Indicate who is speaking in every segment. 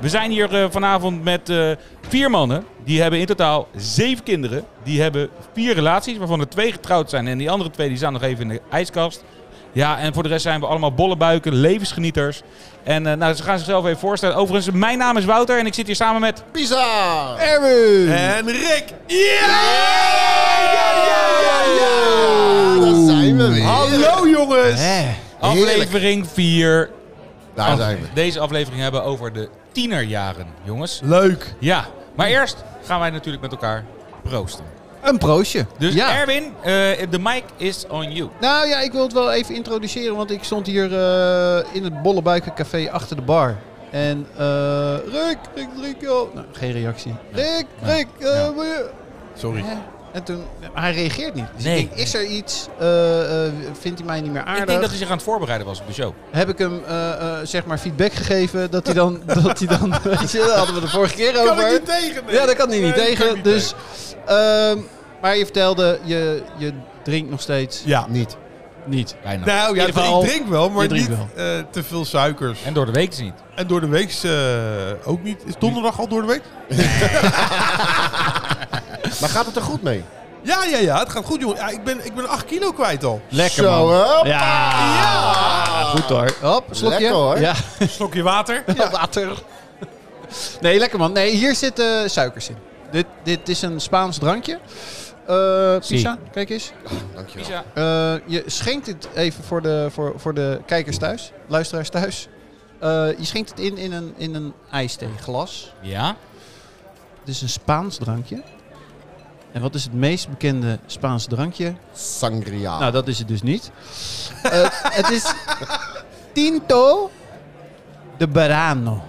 Speaker 1: We zijn hier eh, vanavond met eh, vier mannen. Die hebben in totaal zeven kinderen. Die hebben vier relaties, waarvan er twee getrouwd zijn. En die andere twee die staan nog even in de ijskast. Ja, en voor de rest zijn we allemaal bollebuiken, levensgenieters. En eh, nou, ze gaan zichzelf even voorstellen. Overigens, mijn naam is Wouter en ik zit hier samen met...
Speaker 2: Pisa!
Speaker 3: Erwin!
Speaker 4: En Rick!
Speaker 2: Ja, daar zijn we weer.
Speaker 4: Hallo jongens!
Speaker 3: Hè?
Speaker 1: Aflevering 4.
Speaker 2: Daar zijn we.
Speaker 1: Deze aflevering hebben over de tienerjaren, jongens.
Speaker 3: Leuk.
Speaker 1: Ja, maar eerst gaan wij natuurlijk met elkaar proosten.
Speaker 3: Een proostje.
Speaker 1: Dus
Speaker 3: ja.
Speaker 1: Erwin, eh, de mic is on you.
Speaker 3: Nou ja, ik wil het wel even introduceren, want ik stond hier eh, in het Bollebuikencafé achter de bar. En eh Rick, Rick, Rick, joh. Nou, geen reactie. Rick, Rick, eh,
Speaker 1: Ja.
Speaker 3: wil je-
Speaker 4: Sorry.
Speaker 3: Hè? En toen, hij reageert niet. Dus
Speaker 1: Nee.
Speaker 3: ik denk, is er iets? Eh, eh, vindt hij mij niet meer aardig?
Speaker 1: Ik denk dat hij zich aan het voorbereiden was op de show.
Speaker 3: Heb ik hem, eh, eh, zeg maar, feedback gegeven dat hij dan, dat hij dan, weet je, daar hadden we de vorige keer over.
Speaker 4: Kan ik niet tegen? nee.
Speaker 3: Ja, dat kan hij niet
Speaker 4: Nee, dat kan
Speaker 3: tegen.
Speaker 4: ik niet Nou,
Speaker 3: dus, ehm, maar je vertelde, je, je drinkt nog steeds
Speaker 4: Ja.
Speaker 2: Niet.
Speaker 3: niet.
Speaker 1: Bijna.
Speaker 4: Nou ja,
Speaker 3: In ieder geval-
Speaker 4: ik drink wel, maar
Speaker 3: je drinkt
Speaker 4: niet eh, te veel suikers.
Speaker 1: En
Speaker 4: En,
Speaker 1: door de week is niet.
Speaker 4: door de week eh, ook niet. Is donderdag al door de week?
Speaker 2: Maar gaat het er goed mee?
Speaker 4: Ja, ja, ja. Het gaat goed, jongen. Ja, ik, ben, ik ben 8 kilo kwijt al.
Speaker 3: Lekker
Speaker 2: Zo,
Speaker 3: man.
Speaker 2: hop.
Speaker 3: Ja. Goed hoor. Hop, slokje.
Speaker 2: Lekker, hoor.
Speaker 3: Ja,
Speaker 4: Een slokje water.
Speaker 3: water. Nee, lekker man. Nee, hier zitten suikers in. Dit, dit is een Spaans drankje. Eh pizza, kijk eens.
Speaker 2: Dankjewel.
Speaker 1: Isa,
Speaker 3: Eh, je schenkt het even voor de, voor, voor de kijkers thuis, luisteraars thuis. Eh, je schenkt het in in een, in een ijstheeglas.
Speaker 1: ja?
Speaker 3: Het is een Spaans drankje. En wat is het meest bekende Spaans drankje?
Speaker 2: Sangria.
Speaker 3: Nou, dat is het dus niet. Eh, het is Tinto de Barano.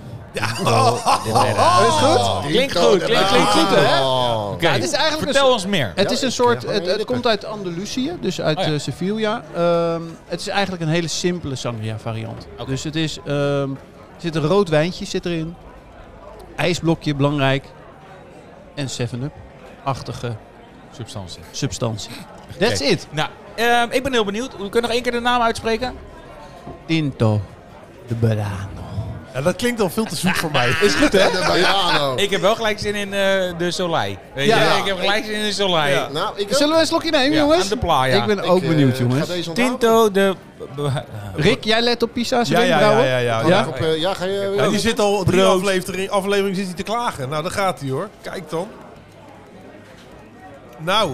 Speaker 2: Oh, is
Speaker 3: goed?
Speaker 1: Klinkt goed, klinkt- klinkt goed, hè? Oké,
Speaker 3: het is eigenlijk
Speaker 1: vertel
Speaker 3: een-
Speaker 1: ons meer.
Speaker 3: Het is
Speaker 2: ik
Speaker 3: een soort,
Speaker 2: krijg
Speaker 3: het,
Speaker 2: wel
Speaker 3: het komt uit Andalusië, dus uit
Speaker 1: Oh ja.
Speaker 3: eh, Sevilla. Ehm, het is eigenlijk een hele simpele sangria variant.
Speaker 1: Oké.
Speaker 3: Dus het is, ehm, er zit een rood wijntje zit erin, ijsblokje belangrijk en 7-up-achtige
Speaker 1: Substantie.
Speaker 3: substantie. That's it.
Speaker 1: Nou, ehm, ik ben heel benieuwd. We kunnen nog één keer de naam uitspreken.
Speaker 3: Tinto de Barano.
Speaker 4: Ja, dat klinkt al veel te zoet voor mij.
Speaker 2: Is goed, hè? De Baiano.
Speaker 1: Ik heb wel gelijk zin in eh, de Soleil. Weet
Speaker 3: Ja.
Speaker 1: je,
Speaker 2: Ja.
Speaker 1: Ik heb gelijk zin in de Soleil.
Speaker 4: Ja.
Speaker 2: Nou, ik
Speaker 3: Zullen we een slokje nemen,
Speaker 1: Ja,
Speaker 3: jongens?
Speaker 1: aan de playa.
Speaker 3: Ik ben
Speaker 2: Ik,
Speaker 3: ook
Speaker 2: eh,
Speaker 3: benieuwd,
Speaker 2: ga
Speaker 3: jongens.
Speaker 2: deze onthouden.
Speaker 1: Tinto de...
Speaker 3: Rick, jij let op Pisa's
Speaker 4: Ja, ja, ja,
Speaker 3: wenkbrauwen?
Speaker 4: ja. ja,
Speaker 2: Oh,
Speaker 4: ja.
Speaker 2: ja? Op, eh, ja, ga je...
Speaker 4: Ja, die zit al drie
Speaker 1: Brood.
Speaker 4: aflevering, aflevering zit hij te klagen. Nou, daar gaat hij hoor. Kijk dan. Nou,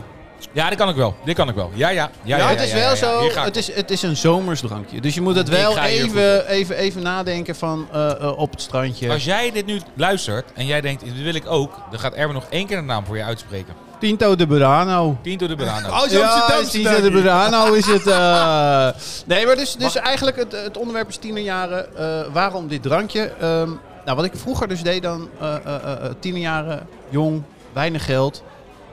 Speaker 1: Ja, dit kan ik wel. Dit kan ik wel. Ja, ja. Ja,
Speaker 3: Ja,
Speaker 1: ja,
Speaker 3: het
Speaker 1: ja,
Speaker 3: is
Speaker 1: ja,
Speaker 3: wel
Speaker 1: ja.
Speaker 3: zo.
Speaker 1: Hier ga ik
Speaker 3: Het
Speaker 1: op.
Speaker 3: is, het is een zomersdrankje. Dus je moet het
Speaker 1: Ik
Speaker 3: wel
Speaker 1: ga hier
Speaker 3: even, even, even nadenken van eh, eh, op het strandje.
Speaker 1: Als jij dit nu luistert en jij denkt, dit wil ik ook, dan gaat Erwin nog één keer de naam voor je Oh, uitspreken.
Speaker 3: Tinto de Burano.
Speaker 1: Tinto de Banano.
Speaker 4: als je Amsterdam
Speaker 3: is Tinto de Burano is het. eh. Nee, maar dus, dus eigenlijk het, het onderwerp is tienerjaren. Eh, waarom dit drankje? Ehm, nou, wat ik vroeger dus deed dan, eh, eh, eh, eh, tienerjaren, jong, weinig geld.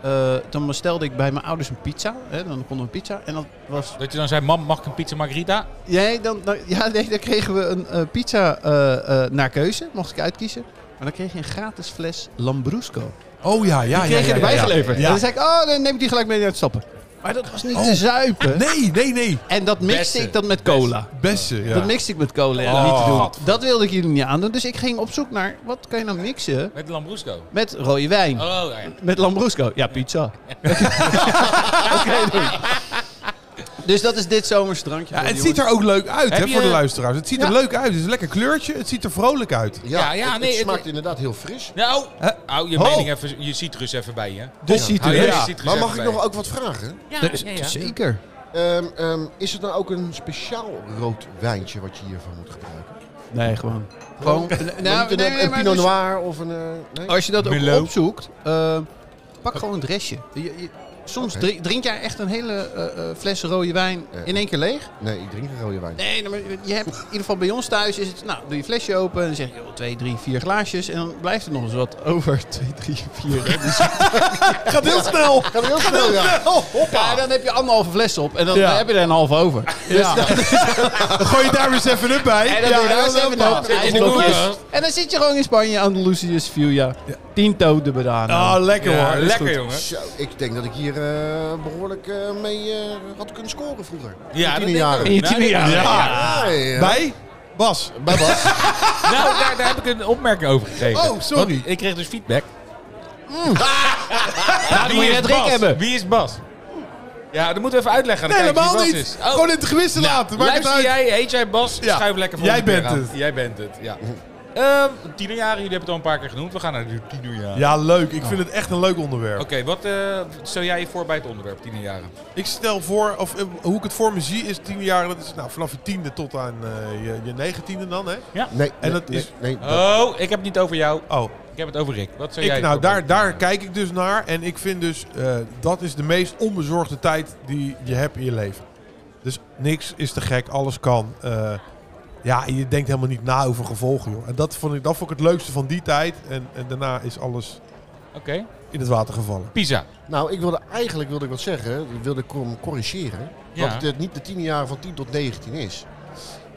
Speaker 3: Eh, dan bestelde ik bij mijn ouders een pizza. Hè, dan konden we een pizza. En dat was
Speaker 1: Dat je dan zei, mam, mag ik een pizza margarita?
Speaker 3: Nee, dan, dan- ja, nee, dan kregen we een eh, pizza eh, eh, naar keuze, mocht ik uitkiezen. Maar dan kreeg je een gratis fles Lambrusco.
Speaker 4: Oh ja, ja,
Speaker 3: Die kreeg je erbij geleverd. En
Speaker 4: Ja.
Speaker 3: dan zei ik, oh, dan neem ik die gelijk mee naar het stappen. Maar dat was niet te zuipen.
Speaker 4: Nee, nee, nee.
Speaker 3: En dat mixte
Speaker 1: Beste.
Speaker 3: ik dan met cola.
Speaker 4: Beste, ja.
Speaker 3: Dat mixte ik met cola. en
Speaker 1: Oh,
Speaker 3: niet te doen.
Speaker 1: gadver.
Speaker 3: Dat wilde ik jullie niet aandoen. Dus ik ging op zoek naar, wat kan je nou mixen
Speaker 1: Met Lambrusco.
Speaker 3: met rode wijn?
Speaker 1: Oh, ja.
Speaker 3: Met Lambrusco. Ja, pizza. Oké, doei. Dus dat is dit zomers drankje.
Speaker 4: Ja,
Speaker 3: voor
Speaker 4: het
Speaker 3: jullie,
Speaker 4: ziet er ook leuk uit,
Speaker 1: Heb
Speaker 4: hè,
Speaker 1: je-
Speaker 4: voor de luisteraars. Het ziet er
Speaker 3: Ja.
Speaker 4: leuk uit. Het is een lekker kleurtje. Het ziet er vrolijk uit.
Speaker 2: Ja,
Speaker 1: Ja, ja,
Speaker 2: het- het,
Speaker 1: nee, het-
Speaker 2: smaakt inderdaad heel fris.
Speaker 1: Nou,
Speaker 4: Hè?
Speaker 1: hou je
Speaker 4: Ho.
Speaker 1: mening even, je citrus even bij je.
Speaker 3: Dus ziet
Speaker 1: Hou
Speaker 3: er.
Speaker 1: je
Speaker 4: Ja.
Speaker 1: citrus
Speaker 2: Maar
Speaker 1: even
Speaker 2: mag ik
Speaker 1: bij
Speaker 2: nog
Speaker 1: je.
Speaker 2: ook wat vragen?
Speaker 1: Ja, ja, ja.
Speaker 3: Zeker.
Speaker 2: Ehm, ehm, is het nou ook een speciaal rood wijntje wat je hiervan moet gebruiken?
Speaker 3: Nee, gewoon. Gewoon.
Speaker 2: Nou,
Speaker 3: nee, nee,
Speaker 2: een
Speaker 3: maar
Speaker 2: Pinot
Speaker 3: dus-
Speaker 2: Noir of een... eh, nee?
Speaker 3: Als je dat ook
Speaker 1: Merlot.
Speaker 3: opzoekt, eh, pak gewoon een restje. Je- je- soms
Speaker 2: Oké.
Speaker 3: drink, drink jij echt een hele eh, eh, fles rode wijn
Speaker 2: Eh.
Speaker 3: in één keer leeg.
Speaker 2: Nee, ik drink geen rode wijn.
Speaker 3: Nee, nee, maar je hebt, in ieder geval bij ons thuis is het, nou, doe je flesje open en dan zeg je joh, twee, drie, vier glaasjes. En dan blijft er nog eens wat over. Twee, drie, vier. Dus,
Speaker 4: Gaat heel snel.
Speaker 2: Gaat heel snel, ja.
Speaker 3: ja, dan heb je anderhalve fles op en dan
Speaker 4: Ja.
Speaker 3: heb je er een half over. Dus
Speaker 4: Ja. Dan gooi je daar weer eens even up bij.
Speaker 3: En dan doe je daar eens even
Speaker 4: helemaal.
Speaker 3: naast.
Speaker 1: in de
Speaker 3: Ijsblokjes.
Speaker 1: koelkast.
Speaker 3: En dan zit je gewoon in Spanje, Andalusië, Sevilla. Tinto de Banano.
Speaker 4: Ah, lekker
Speaker 1: Ja,
Speaker 4: hoor.
Speaker 1: lekker
Speaker 4: joh.
Speaker 1: jongen.
Speaker 2: Zo, ik denk dat ik hier eh, behoorlijk eh, mee eh, had kunnen scoren vroeger.
Speaker 1: Ja,
Speaker 2: In
Speaker 1: dat
Speaker 2: die
Speaker 1: denk ik
Speaker 2: jaren.
Speaker 1: ook.
Speaker 3: In je tiende
Speaker 1: Nou,
Speaker 3: jaren.
Speaker 1: ja.
Speaker 2: Ja, ja.
Speaker 4: Bij? Bas.
Speaker 2: Bij Bas.
Speaker 1: Nou, daar, daar heb ik een opmerking over gekregen.
Speaker 4: Oh, sorry.
Speaker 1: Want ik kreeg dus feedback. Nou,
Speaker 3: moet je het drink
Speaker 1: Bas?
Speaker 3: hebben.
Speaker 1: Wie is Bas? Ja, dat moeten we even uitleggen. aan de
Speaker 4: Nee,
Speaker 1: kijker
Speaker 4: helemaal
Speaker 1: wie Bas
Speaker 4: niet.
Speaker 1: is. Oh,
Speaker 4: Gewoon in het gewissen laten. Maakt het
Speaker 1: luister
Speaker 4: uit.
Speaker 1: jij, heet jij Bas?
Speaker 4: Ja.
Speaker 1: Schuif lekker voor
Speaker 4: Jij
Speaker 1: de deur
Speaker 4: bent
Speaker 1: aan.
Speaker 4: het.
Speaker 1: Jij bent het, ja. Ehm, tienerjaren, jullie hebben het al een paar keer genoemd. We gaan naar de tienerjaren.
Speaker 4: Ja, leuk. Ik vind het echt een leuk onderwerp.
Speaker 1: Oké, wat eh, stel jij je voor bij het onderwerp tienerjaren?
Speaker 4: Ik stel voor, of eh, hoe ik het voor me zie, is tien jaar. Dat is nou, vanaf je tiende tot aan eh, je, je negentiende dan, hè?
Speaker 2: Nee,
Speaker 4: En
Speaker 2: en
Speaker 4: dat
Speaker 2: dat
Speaker 4: is- Eh?
Speaker 2: Nee, dat-
Speaker 1: Oh, ik heb het niet over jou.
Speaker 4: Oh,
Speaker 1: Ik heb het over Rick. Wat zou jij
Speaker 4: ik, nou,
Speaker 1: voor bij
Speaker 4: daar,
Speaker 1: de
Speaker 4: daar
Speaker 1: tienerjaren?
Speaker 4: kijk ik dus naar. En ik vind dus, eh, dat is de meest onbezorgde tijd die je hebt in je leven. Dus niks is te gek, alles kan. Eh, ja, en je denkt helemaal niet na over gevolgen, joh. En dat vond ik, dat vond ik het leukste van die tijd. En, en daarna is alles
Speaker 1: Oké,
Speaker 4: in het water gevallen.
Speaker 1: Pisa.
Speaker 2: Nou, ik wilde eigenlijk wilde ik wat zeggen. Wilde ik hem corrigeren.
Speaker 1: Ja.
Speaker 2: Dat het niet de tienerjaren van 10 tot 19 is.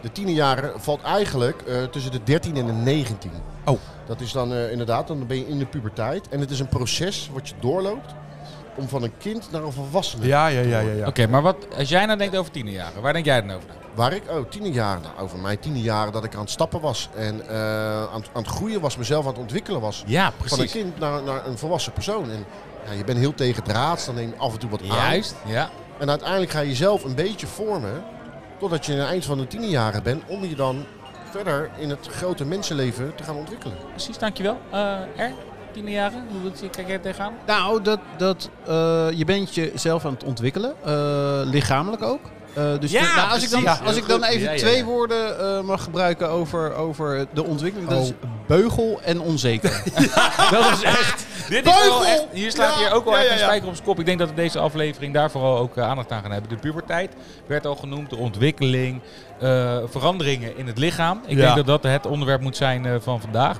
Speaker 2: De tienerjaren valt eigenlijk eh, tussen de 13 en de 19.
Speaker 4: Oh.
Speaker 2: Dat is dan eh, inderdaad, dan ben je in de puberteit. En het is een proces wat je doorloopt om van een kind naar een volwassene.
Speaker 4: Ja, ja, ja, ja. ja.
Speaker 1: Oké, maar wat, als jij nou denkt over tienerjaren, waar denk jij dan over? na?
Speaker 2: Waar ik, oh, tienerjaren, nou, over mijn tienerjaren dat ik aan het stappen was. En eh, aan, het- aan het groeien was, mezelf aan het ontwikkelen was.
Speaker 1: Ja,
Speaker 2: Van een
Speaker 1: precies.
Speaker 2: kind naar, naar een volwassen persoon. En ja, je bent heel tegen draads, dan neem je af en toe wat aan.
Speaker 1: Juist, ja.
Speaker 2: En uiteindelijk ga je jezelf een beetje vormen. Totdat je in het eind van de tienerjaren bent. Om je dan verder in het grote mensenleven te gaan ontwikkelen.
Speaker 1: Precies, dankjewel. Eh R, tienerjaren, hoe wil je- kijk jij er tegenaan?
Speaker 3: Nou, dat, dat, eh, je bent jezelf aan het ontwikkelen, eh, lichamelijk ook. Eh, dus
Speaker 1: Ja,
Speaker 3: de- nou, als, ik dan,
Speaker 1: precies.
Speaker 3: als ik dan
Speaker 1: Heel goed.
Speaker 3: even
Speaker 1: Ja, ja,
Speaker 3: twee
Speaker 1: ja.
Speaker 3: woorden eh, mag gebruiken over, over de ontwikkeling, dat
Speaker 4: Oh.
Speaker 3: is beugel en onzeker.
Speaker 1: Dat is echt. Dit is
Speaker 4: Beugel!
Speaker 1: wel echt. Hier staat
Speaker 4: Ja,
Speaker 1: hier ook wel
Speaker 4: ja,
Speaker 1: echt
Speaker 4: ja,
Speaker 1: een
Speaker 4: ja.
Speaker 1: spijker op zijn kop. Ik denk dat we deze aflevering daar vooral ook eh, aandacht aan gaan hebben. De puberteit werd al genoemd, de ontwikkeling, eh, veranderingen in het lichaam. Ik
Speaker 4: Ja.
Speaker 1: denk dat dat het onderwerp moet zijn eh, van vandaag.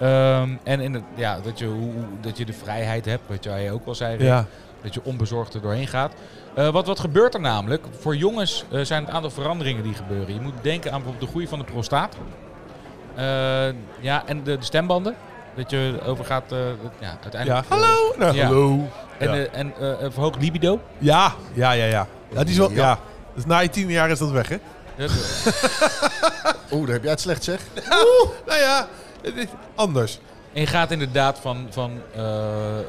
Speaker 1: Ehm, en in het- ja, dat, je, hoe, hoe- dat je de vrijheid hebt, wat jij ook al zei, Rick.
Speaker 4: Ja.
Speaker 1: dat je onbezorgd er doorheen gaat. Eh, wat, wat gebeurt er namelijk? Voor jongens eh, zijn het aantal veranderingen die gebeuren. Je moet denken aan bijvoorbeeld de groei van de prostaat. Eh, ja, en de, de stembanden. Dat je overgaat, eh ja,
Speaker 4: ja.
Speaker 1: uiteindelijk.
Speaker 4: Hallo. Nou,
Speaker 1: Ja.
Speaker 4: Hallo.
Speaker 1: En,
Speaker 4: Ja.
Speaker 1: eh, en eh, een verhoogd libido.
Speaker 4: Ja, ja, ja, ja. Ja, die is wel,
Speaker 2: Ja.
Speaker 4: ja. Dus na je tiende jaar is dat weg, hè?
Speaker 1: Dat-
Speaker 2: Oeh, daar heb jij het slecht zeg.
Speaker 4: Oeh, nou ja, het is anders.
Speaker 1: en je gaat inderdaad van, van eh, eh,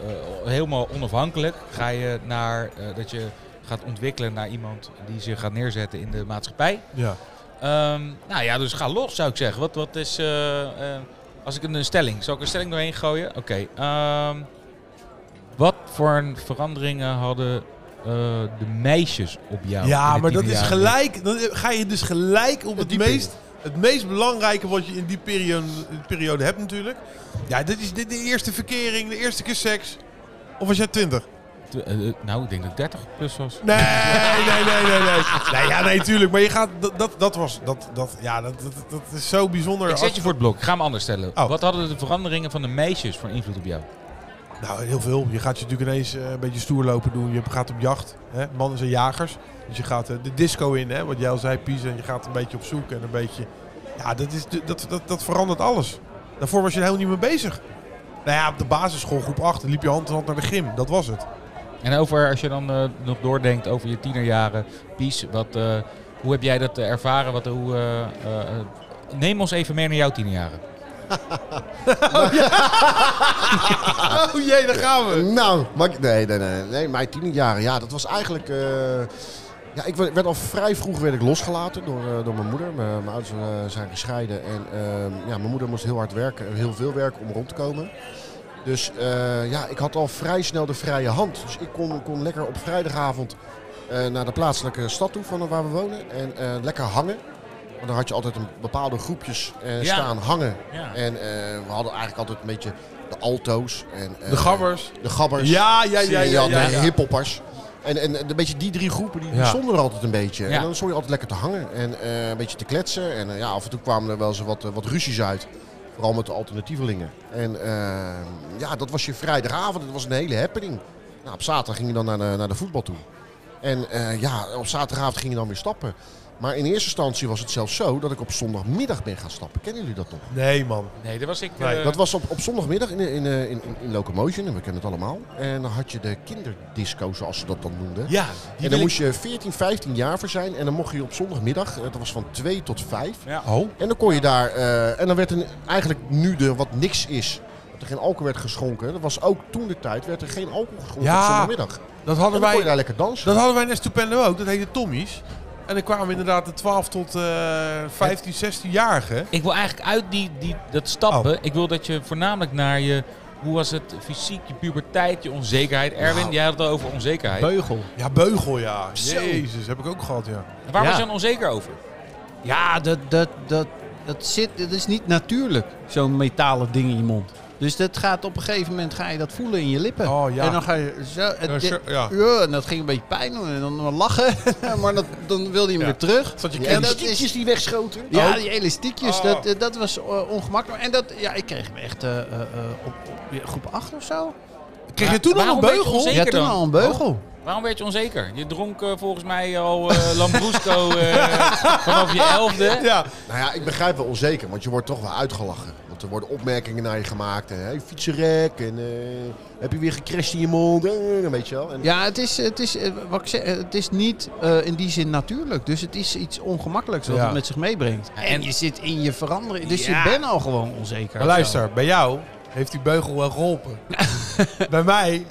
Speaker 1: helemaal onafhankelijk. Ga je naar eh, dat je gaat ontwikkelen naar iemand die zich gaat neerzetten in de maatschappij.
Speaker 4: Ja.
Speaker 1: Ehm, nou ja, dus ga los zou ik zeggen. Wat, wat is. eh, eh, als ik een, een stelling. Zal ik een stelling doorheen gooien? Oké. ehm, wat voor veranderingen hadden eh, de meisjes op jou? in
Speaker 4: ja,
Speaker 1: de
Speaker 4: maar dat is
Speaker 1: tienerjaren?
Speaker 4: gelijk. Dan ga je dus gelijk op het,
Speaker 2: diep
Speaker 4: meest, het meest belangrijke wat je in die periode, periode hebt natuurlijk. Ja, dit is de, de eerste verkering, de eerste keer seks. Of was jij twintig?
Speaker 1: Tw- eh, eh, nou, ik denk dat ik 30 plus was.
Speaker 4: Nee, nee, nee, nee, nee. Nee, ja, nee, tuurlijk. Maar je gaat, dat, dat, dat was, dat, dat, ja, dat, dat, dat is zo bijzonder.
Speaker 1: Ik
Speaker 4: als-
Speaker 1: zet je voor het blok. Ik ga hem anders stellen.
Speaker 4: Oh.
Speaker 1: Wat hadden de veranderingen van de meisjes voor invloed op jou?
Speaker 4: Nou, heel veel. Je gaat je natuurlijk ineens eh, een beetje stoer lopen doen. Je gaat op jacht. Hè? Mannen zijn jagers. Dus je gaat eh, de disco in, hè? wat jij al zei, Pies. En je gaat een beetje op zoek en een beetje... Ja, dat, is, de- dat, dat, dat verandert alles. Daarvoor was je er helemaal niet mee bezig. Nou ja, op de basisschool, groep 8, liep je hand in hand naar de gym. Dat was het.
Speaker 1: En over, als je dan eh, nog doordenkt over je tienerjaren, Pies, wat, eh, hoe heb jij dat eh, ervaren? Wat, hoe, eh, eh, eh, neem ons even mee naar jouw tienerjaren.
Speaker 4: Oh jee, daar gaan we.
Speaker 2: Nou, maar, ik- nee, nee, nee, nee. Mijn tienerjaren, ja, dat was eigenlijk... eh, ja, ik werd werd al vrij vroeg werd ik losgelaten door, eh, door mijn moeder. Mijn, mijn ouders eh, zijn gescheiden. En eh, ja, mijn moeder moest heel hard werken, en heel veel werken om rond te komen. Dus eh, ja, ik had al vrij snel de vrije hand. Dus ik kon, kon lekker op vrijdagavond eh, naar de plaatselijke stad toe van waar we wonen. En eh, lekker hangen. Want dan had je altijd een bepaalde groepjes eh,
Speaker 1: Ja.
Speaker 2: staan hangen.
Speaker 1: Ja.
Speaker 2: En eh, we hadden eigenlijk altijd een beetje de alto's. En, eh,
Speaker 4: De gabbers.
Speaker 2: de gabbers.
Speaker 4: Ja, ja, ja,
Speaker 2: en je
Speaker 4: ja,
Speaker 2: had
Speaker 4: ja,
Speaker 2: de
Speaker 4: ja.
Speaker 2: hiphoppers. En, en een beetje die drie groepen die die
Speaker 4: Ja.
Speaker 2: stonden er altijd een beetje.
Speaker 1: Ja.
Speaker 2: En dan stond je altijd lekker te hangen en eh, een beetje te kletsen. En eh, ja, af en toe kwamen er wel eens wat, eh, wat ruzies uit. Vooral met de alternatievelingen. En eh, ja, dat was je vrijdagavond. Dat was een hele happening. Nou, op zaterdag ging je dan naar de, naar de voetbal toe. En eh, ja, op zaterdagavond ging je dan weer stappen. Maar in eerste instantie was het zelfs zo dat ik op zondagmiddag ben gaan stappen. Kennen jullie dat nog?
Speaker 4: Nee, man.
Speaker 1: Nee, dat was ik.
Speaker 4: Nee,
Speaker 1: eh,
Speaker 2: Dat was op, op zondagmiddag in, in, eh, in, in, in Locomotion, en we kennen het allemaal. En dan had je de kinderdisco, zoals ze dat dan noemden.
Speaker 1: Ja, die
Speaker 2: en dan
Speaker 1: wil
Speaker 2: moest je 14, 15 jaar voor zijn. En dan mocht je op zondagmiddag, eh, dat was van 2 tot 5.
Speaker 1: ik- Ja.
Speaker 4: Oh.
Speaker 2: En dan kon je daar, eh, en dan werd een, eigenlijk nu de wat niks is, dat er geen alcohol werd geschonken. Dat was ook toen de tijd, werd er geen alcohol geschonken
Speaker 4: Ja.
Speaker 2: op zondagmiddag.
Speaker 4: Dat
Speaker 2: En
Speaker 4: hadden
Speaker 2: dan kon je
Speaker 4: wij,
Speaker 2: daar lekker dansen.
Speaker 4: dat hadden wij net Stupendo ook. Dat heette Tommy's. En dan kwamen inderdaad de 12 tot eh 15, 16-jarigen.
Speaker 1: Ik wil eigenlijk uit die, die, dat stappen.
Speaker 4: Oh.
Speaker 1: Ik wil dat je voornamelijk naar je. Hoe was het fysiek, je puberteit, je onzekerheid? Erwin,
Speaker 4: Nou.
Speaker 1: jij had het al over onzekerheid.
Speaker 3: Beugel.
Speaker 4: Ja, beugel, ja.
Speaker 1: Zo.
Speaker 4: Jezus, heb ik ook gehad, ja.
Speaker 1: Waar
Speaker 3: Ja.
Speaker 1: was je dan onzeker over?
Speaker 3: Ja, dat, dat, dat, dat, zit, dat is niet natuurlijk, zo'n metalen ding in je mond. Dus dat gaat op een gegeven moment ga je dat voelen in je lippen.
Speaker 4: Oh, ja.
Speaker 3: En dan ga je zo. het-
Speaker 4: Ja, sure, ja.
Speaker 3: Ja, en dat ging een beetje pijn doen en dan maar lachen. maar dat, dan wilde je hem
Speaker 4: Ja.
Speaker 3: weer terug.
Speaker 4: Zat je
Speaker 3: En
Speaker 4: kind-
Speaker 3: dat is-
Speaker 2: Elastiekjes die wegschoten.
Speaker 3: Ja,
Speaker 4: Oh.
Speaker 3: die elastiekjes,
Speaker 4: Oh.
Speaker 3: dat, eh, dat was eh, ongemakkelijk. En dat, ja, ik kreeg hem echt eh, eh, eh, op, op groep 8 of zo.
Speaker 4: Kreeg
Speaker 1: Ja,
Speaker 4: je toen al een
Speaker 1: waarom ben je
Speaker 4: beugel?
Speaker 1: onzeker?
Speaker 3: Ja, toen
Speaker 1: dan.
Speaker 3: al een beugel.
Speaker 4: Oh.
Speaker 1: Waarom werd je onzeker? Je dronk eh, volgens mij al eh Lambrusco eh, vanaf je elfde.
Speaker 4: Ja.
Speaker 2: Nou ja, ik begrijp wel onzeker, want je wordt toch wel uitgelachen. Want er worden opmerkingen naar je gemaakt. En, hey, fietsenrek, en eh, heb je weer gecrashed in je mond, en, weet je wel. En,
Speaker 3: Ja, het is, het is, eh, wat ik zeg, eh, het is niet eh, in die zin natuurlijk. Dus het is iets ongemakkelijks wat
Speaker 4: Ja.
Speaker 3: het met zich meebrengt.
Speaker 1: Ja,
Speaker 3: En,
Speaker 1: en-
Speaker 3: je zit in je verandering. Dus
Speaker 1: Ja.
Speaker 3: je bent al gewoon onzeker.
Speaker 4: Maar luister, bij jou heeft die beugel wel geholpen. bij mij,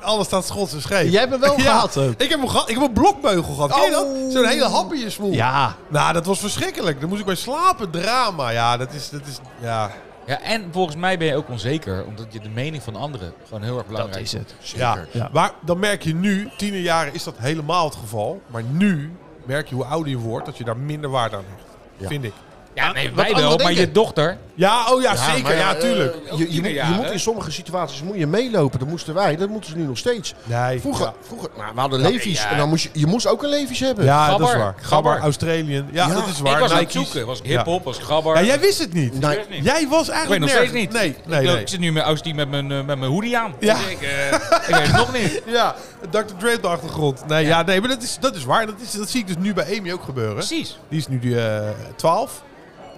Speaker 4: alles staat schots en scheef.
Speaker 3: Jij hebt hem wel
Speaker 4: Ja.
Speaker 3: gehad ook.
Speaker 4: Ik heb, hem gehad, ik heb een blokbeugel gehad. Ken je dat? Zo'n hele hap in je smoel.
Speaker 3: Ja.
Speaker 4: Nou, dat was verschrikkelijk. Daar moest ik bij slapen. Drama. Ja, dat is... Dat is ja.
Speaker 1: Ja, en volgens mij ben je ook onzeker, omdat je de mening van anderen gewoon heel erg belangrijk
Speaker 3: Dat is het.
Speaker 4: Ja.
Speaker 3: Ja.
Speaker 4: Maar dan merk je nu, tienerjaren is dat helemaal het geval. Maar nu merk je hoe ouder je wordt, dat je daar minder waarde aan hecht.
Speaker 2: Ja.
Speaker 4: Vind ik.
Speaker 1: Ja, nee,
Speaker 3: Wat
Speaker 1: wij wel,
Speaker 3: anderen
Speaker 1: maar je
Speaker 3: denken.
Speaker 1: dochter.
Speaker 4: Ja, oh ja, zeker.
Speaker 2: maar
Speaker 4: ja,
Speaker 2: eh,
Speaker 4: tuurlijk.
Speaker 2: je- je, moet, je
Speaker 1: Tienerjaren.
Speaker 2: moet in sommige situaties moet je meelopen. Dat moesten wij, dat moeten ze nu nog steeds.
Speaker 4: nee.
Speaker 2: Vroeger,
Speaker 4: Ja.
Speaker 2: vroeger nou, we hadden levies.
Speaker 1: ja.
Speaker 2: En dan moest je, je moest ook een levies hebben.
Speaker 4: Ja, dat is
Speaker 1: Gabber.
Speaker 4: waar. Gabber,
Speaker 1: Gabber.
Speaker 4: Australian. Ja,
Speaker 2: Ja.
Speaker 4: dat is waar.
Speaker 1: Ik was aan het
Speaker 4: Nike's.
Speaker 1: zoeken. Was ik
Speaker 4: Ja.
Speaker 1: hip-hop, was ik gabber.
Speaker 4: Ja, jij wist het niet.
Speaker 2: Nee.
Speaker 1: Ik weet het niet.
Speaker 4: Jij was
Speaker 1: Ik weet
Speaker 4: eigenlijk
Speaker 1: nog steeds
Speaker 4: nergens.
Speaker 1: niet.
Speaker 4: Nee, nee,
Speaker 1: ik, loop-
Speaker 4: nee.
Speaker 1: ik zit nu met Austie met mijn, eh, met mijn hoodie aan.
Speaker 4: Ja.
Speaker 1: Ik, eh, ik weet het nog niet.
Speaker 4: Ja, Dr. Dre op de achtergrond. Nee, ja. nee maar dat is, dat is waar. Dat, is, dat zie ik dus nu bij Amy ook gebeuren.
Speaker 1: Precies.
Speaker 4: Die is nu die, eh 12.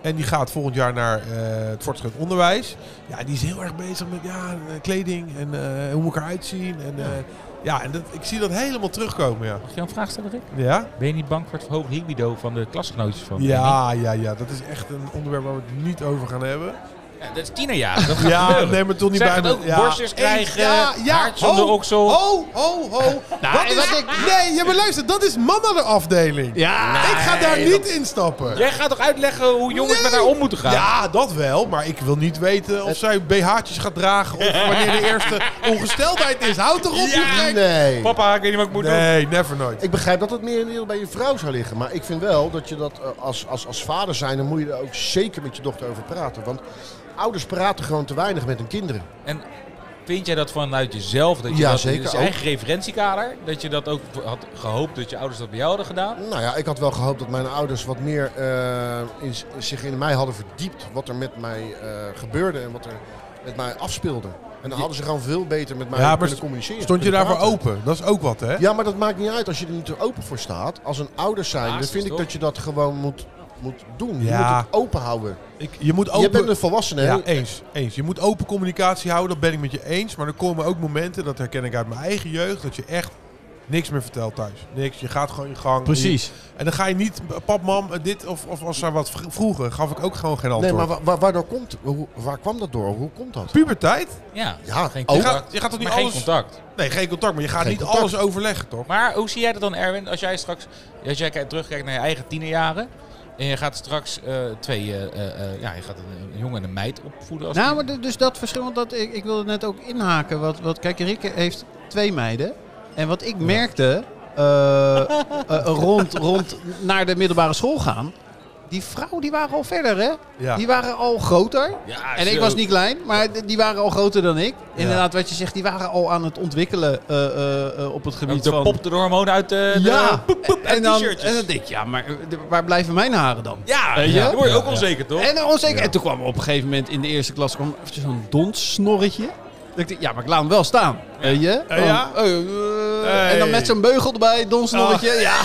Speaker 4: En die gaat volgend jaar naar eh, het voortgezet onderwijs. Ja, die is heel erg bezig met ja, eh, kleding en eh, hoe moet ik eruit zien. En, eh, ja, en dat, ik zie dat helemaal terugkomen, ja.
Speaker 1: Mag je een vraag stellen, Rick?
Speaker 4: Ja?
Speaker 1: Ben je niet bang voor het verhoogd libido van de klasgenootjes van
Speaker 4: Ja, ja, ja. Dat is echt een onderwerp waar we het niet over gaan hebben.
Speaker 1: Ja, dat is tienerjaar. Dat gaat
Speaker 4: Ja,
Speaker 1: gebeuren.
Speaker 4: nee, maar toch niet
Speaker 1: Zij
Speaker 4: bij
Speaker 1: gaat
Speaker 4: me.
Speaker 1: ook
Speaker 4: ja.
Speaker 1: borstjes krijgen, haartjes om de oksel.
Speaker 4: Ho, ho, ho. dat
Speaker 3: en
Speaker 4: is,
Speaker 3: wat
Speaker 4: Nee, ja, maar luister, dat is man aan de afdeling.
Speaker 3: Ja.
Speaker 4: ik ga daar niet instappen.
Speaker 1: Jij gaat toch uitleggen hoe jongens
Speaker 4: Nee.
Speaker 1: met haar om moeten gaan?
Speaker 4: Ja, dat wel, maar ik wil niet weten of zij BH'tjes gaat dragen of wanneer de eerste ongesteldheid is. Houd toch op, je gek.
Speaker 2: Nee.
Speaker 1: Papa, ik weet niet wat ik moet doen.
Speaker 4: Nee, never nooit.
Speaker 2: Ik begrijp dat het meer in bij je vrouw zou liggen. Maar ik vind wel dat je dat eh, als, als, als vader zijn, dan moet je er ook zeker met je dochter over praten. Want ouders praten gewoon te weinig met hun kinderen.
Speaker 1: En vind jij dat vanuit jezelf, dat je
Speaker 2: Ja,
Speaker 1: dat,
Speaker 2: zeker
Speaker 1: dat is je
Speaker 2: ook.
Speaker 1: eigen referentiekader, dat je dat ook had gehoopt dat je ouders dat bij jou hadden gedaan?
Speaker 2: Nou ja, ik had wel gehoopt dat mijn ouders wat meer eh, in, z- zich in mij hadden verdiept. Wat er met mij eh, gebeurde en wat er met mij afspeelde. En dan hadden ze gewoon veel beter met mij
Speaker 4: Ja, maar
Speaker 2: kunnen
Speaker 4: st-
Speaker 2: communiceren.
Speaker 4: Stond je
Speaker 2: kunnen
Speaker 4: daarvoor
Speaker 2: praten.
Speaker 4: open? Dat is ook wat, hè?
Speaker 2: Ja, maar dat maakt niet uit als je er niet open voor staat. Als een ouder zijnde
Speaker 1: Basis,
Speaker 2: vind ik
Speaker 1: toch?
Speaker 2: dat je dat gewoon moet, moet doen. Je
Speaker 4: Ja.
Speaker 2: moet het open houden.
Speaker 4: Ik, je moet
Speaker 2: Je
Speaker 4: open...
Speaker 2: bent een volwassene. hè?
Speaker 4: Ja, eens, eens. Je moet open communicatie houden, dat ben ik met je eens. Maar er komen ook momenten, dat herken ik uit mijn eigen jeugd, dat je echt niks meer vertelt thuis. Niks, je gaat gewoon je gang.
Speaker 3: Precies.
Speaker 4: En dan ga je niet, pap, mam, dit of, of als zij wat vr- vroegen, gaf ik ook gewoon geen antwoord.
Speaker 2: Nee, maar wa- wa- waardoor komt, hoe- waar kwam dat door? Hoe komt dat?
Speaker 4: Puberteit?
Speaker 1: Ja,
Speaker 2: Ja,
Speaker 1: geen
Speaker 2: ook.
Speaker 4: Je
Speaker 1: contact.
Speaker 4: gaat, je gaat toch niet
Speaker 1: maar
Speaker 4: alles...
Speaker 1: geen contact.
Speaker 4: Nee, geen contact, maar je gaat
Speaker 2: Geen
Speaker 4: niet
Speaker 2: contact.
Speaker 4: alles overleggen, toch?
Speaker 1: Maar hoe zie jij dat dan, Erwin, als jij straks, als jij kijkt- terugkijkt naar je eigen tienerjaren en je gaat straks eh, twee, eh, eh, eh, ja, je gaat een, een jongen en een meid opvoeden als
Speaker 3: Nou,
Speaker 1: die-
Speaker 3: maar d- dus dat verschil, want dat, ik, ik wilde net ook inhaken. Wat, wat, kijk, Rikke heeft twee meiden. En wat ik merkte eh, eh, rond, rond naar de middelbare school gaan. Die vrouwen die waren al verder, hè?
Speaker 4: Ja.
Speaker 3: Die waren al groter.
Speaker 1: Ja,
Speaker 3: En
Speaker 1: zo.
Speaker 3: ik was niet klein, maar d- die waren al groter dan ik. Inderdaad, wat je zegt, die waren al aan het ontwikkelen eh, eh, eh, op het
Speaker 1: Ook
Speaker 3: gebied
Speaker 1: de
Speaker 3: van...
Speaker 1: popte de hormonen uit eh, de, de
Speaker 3: ja,
Speaker 1: poep, poep, uit
Speaker 3: en, dan,
Speaker 1: t-shirtjes.
Speaker 3: en dan denk ik, ja, maar eh, d- waar blijven mijn haren dan?
Speaker 1: ja,
Speaker 3: Weet je?
Speaker 1: ja, dan word je ook
Speaker 4: Ja.
Speaker 1: onzeker, toch?
Speaker 3: En, eh, onzeker. en toen kwam op een gegeven moment in de eerste klas kwam eventjes zo'n donssnorretje. Dat ik dacht, ja, maar ik laat hem wel staan. Weet je?
Speaker 4: Eh, ja?
Speaker 3: Want, eh, eh,
Speaker 4: Hey.
Speaker 3: En dan met zo'n beugel erbij, donssnorretje. Ja.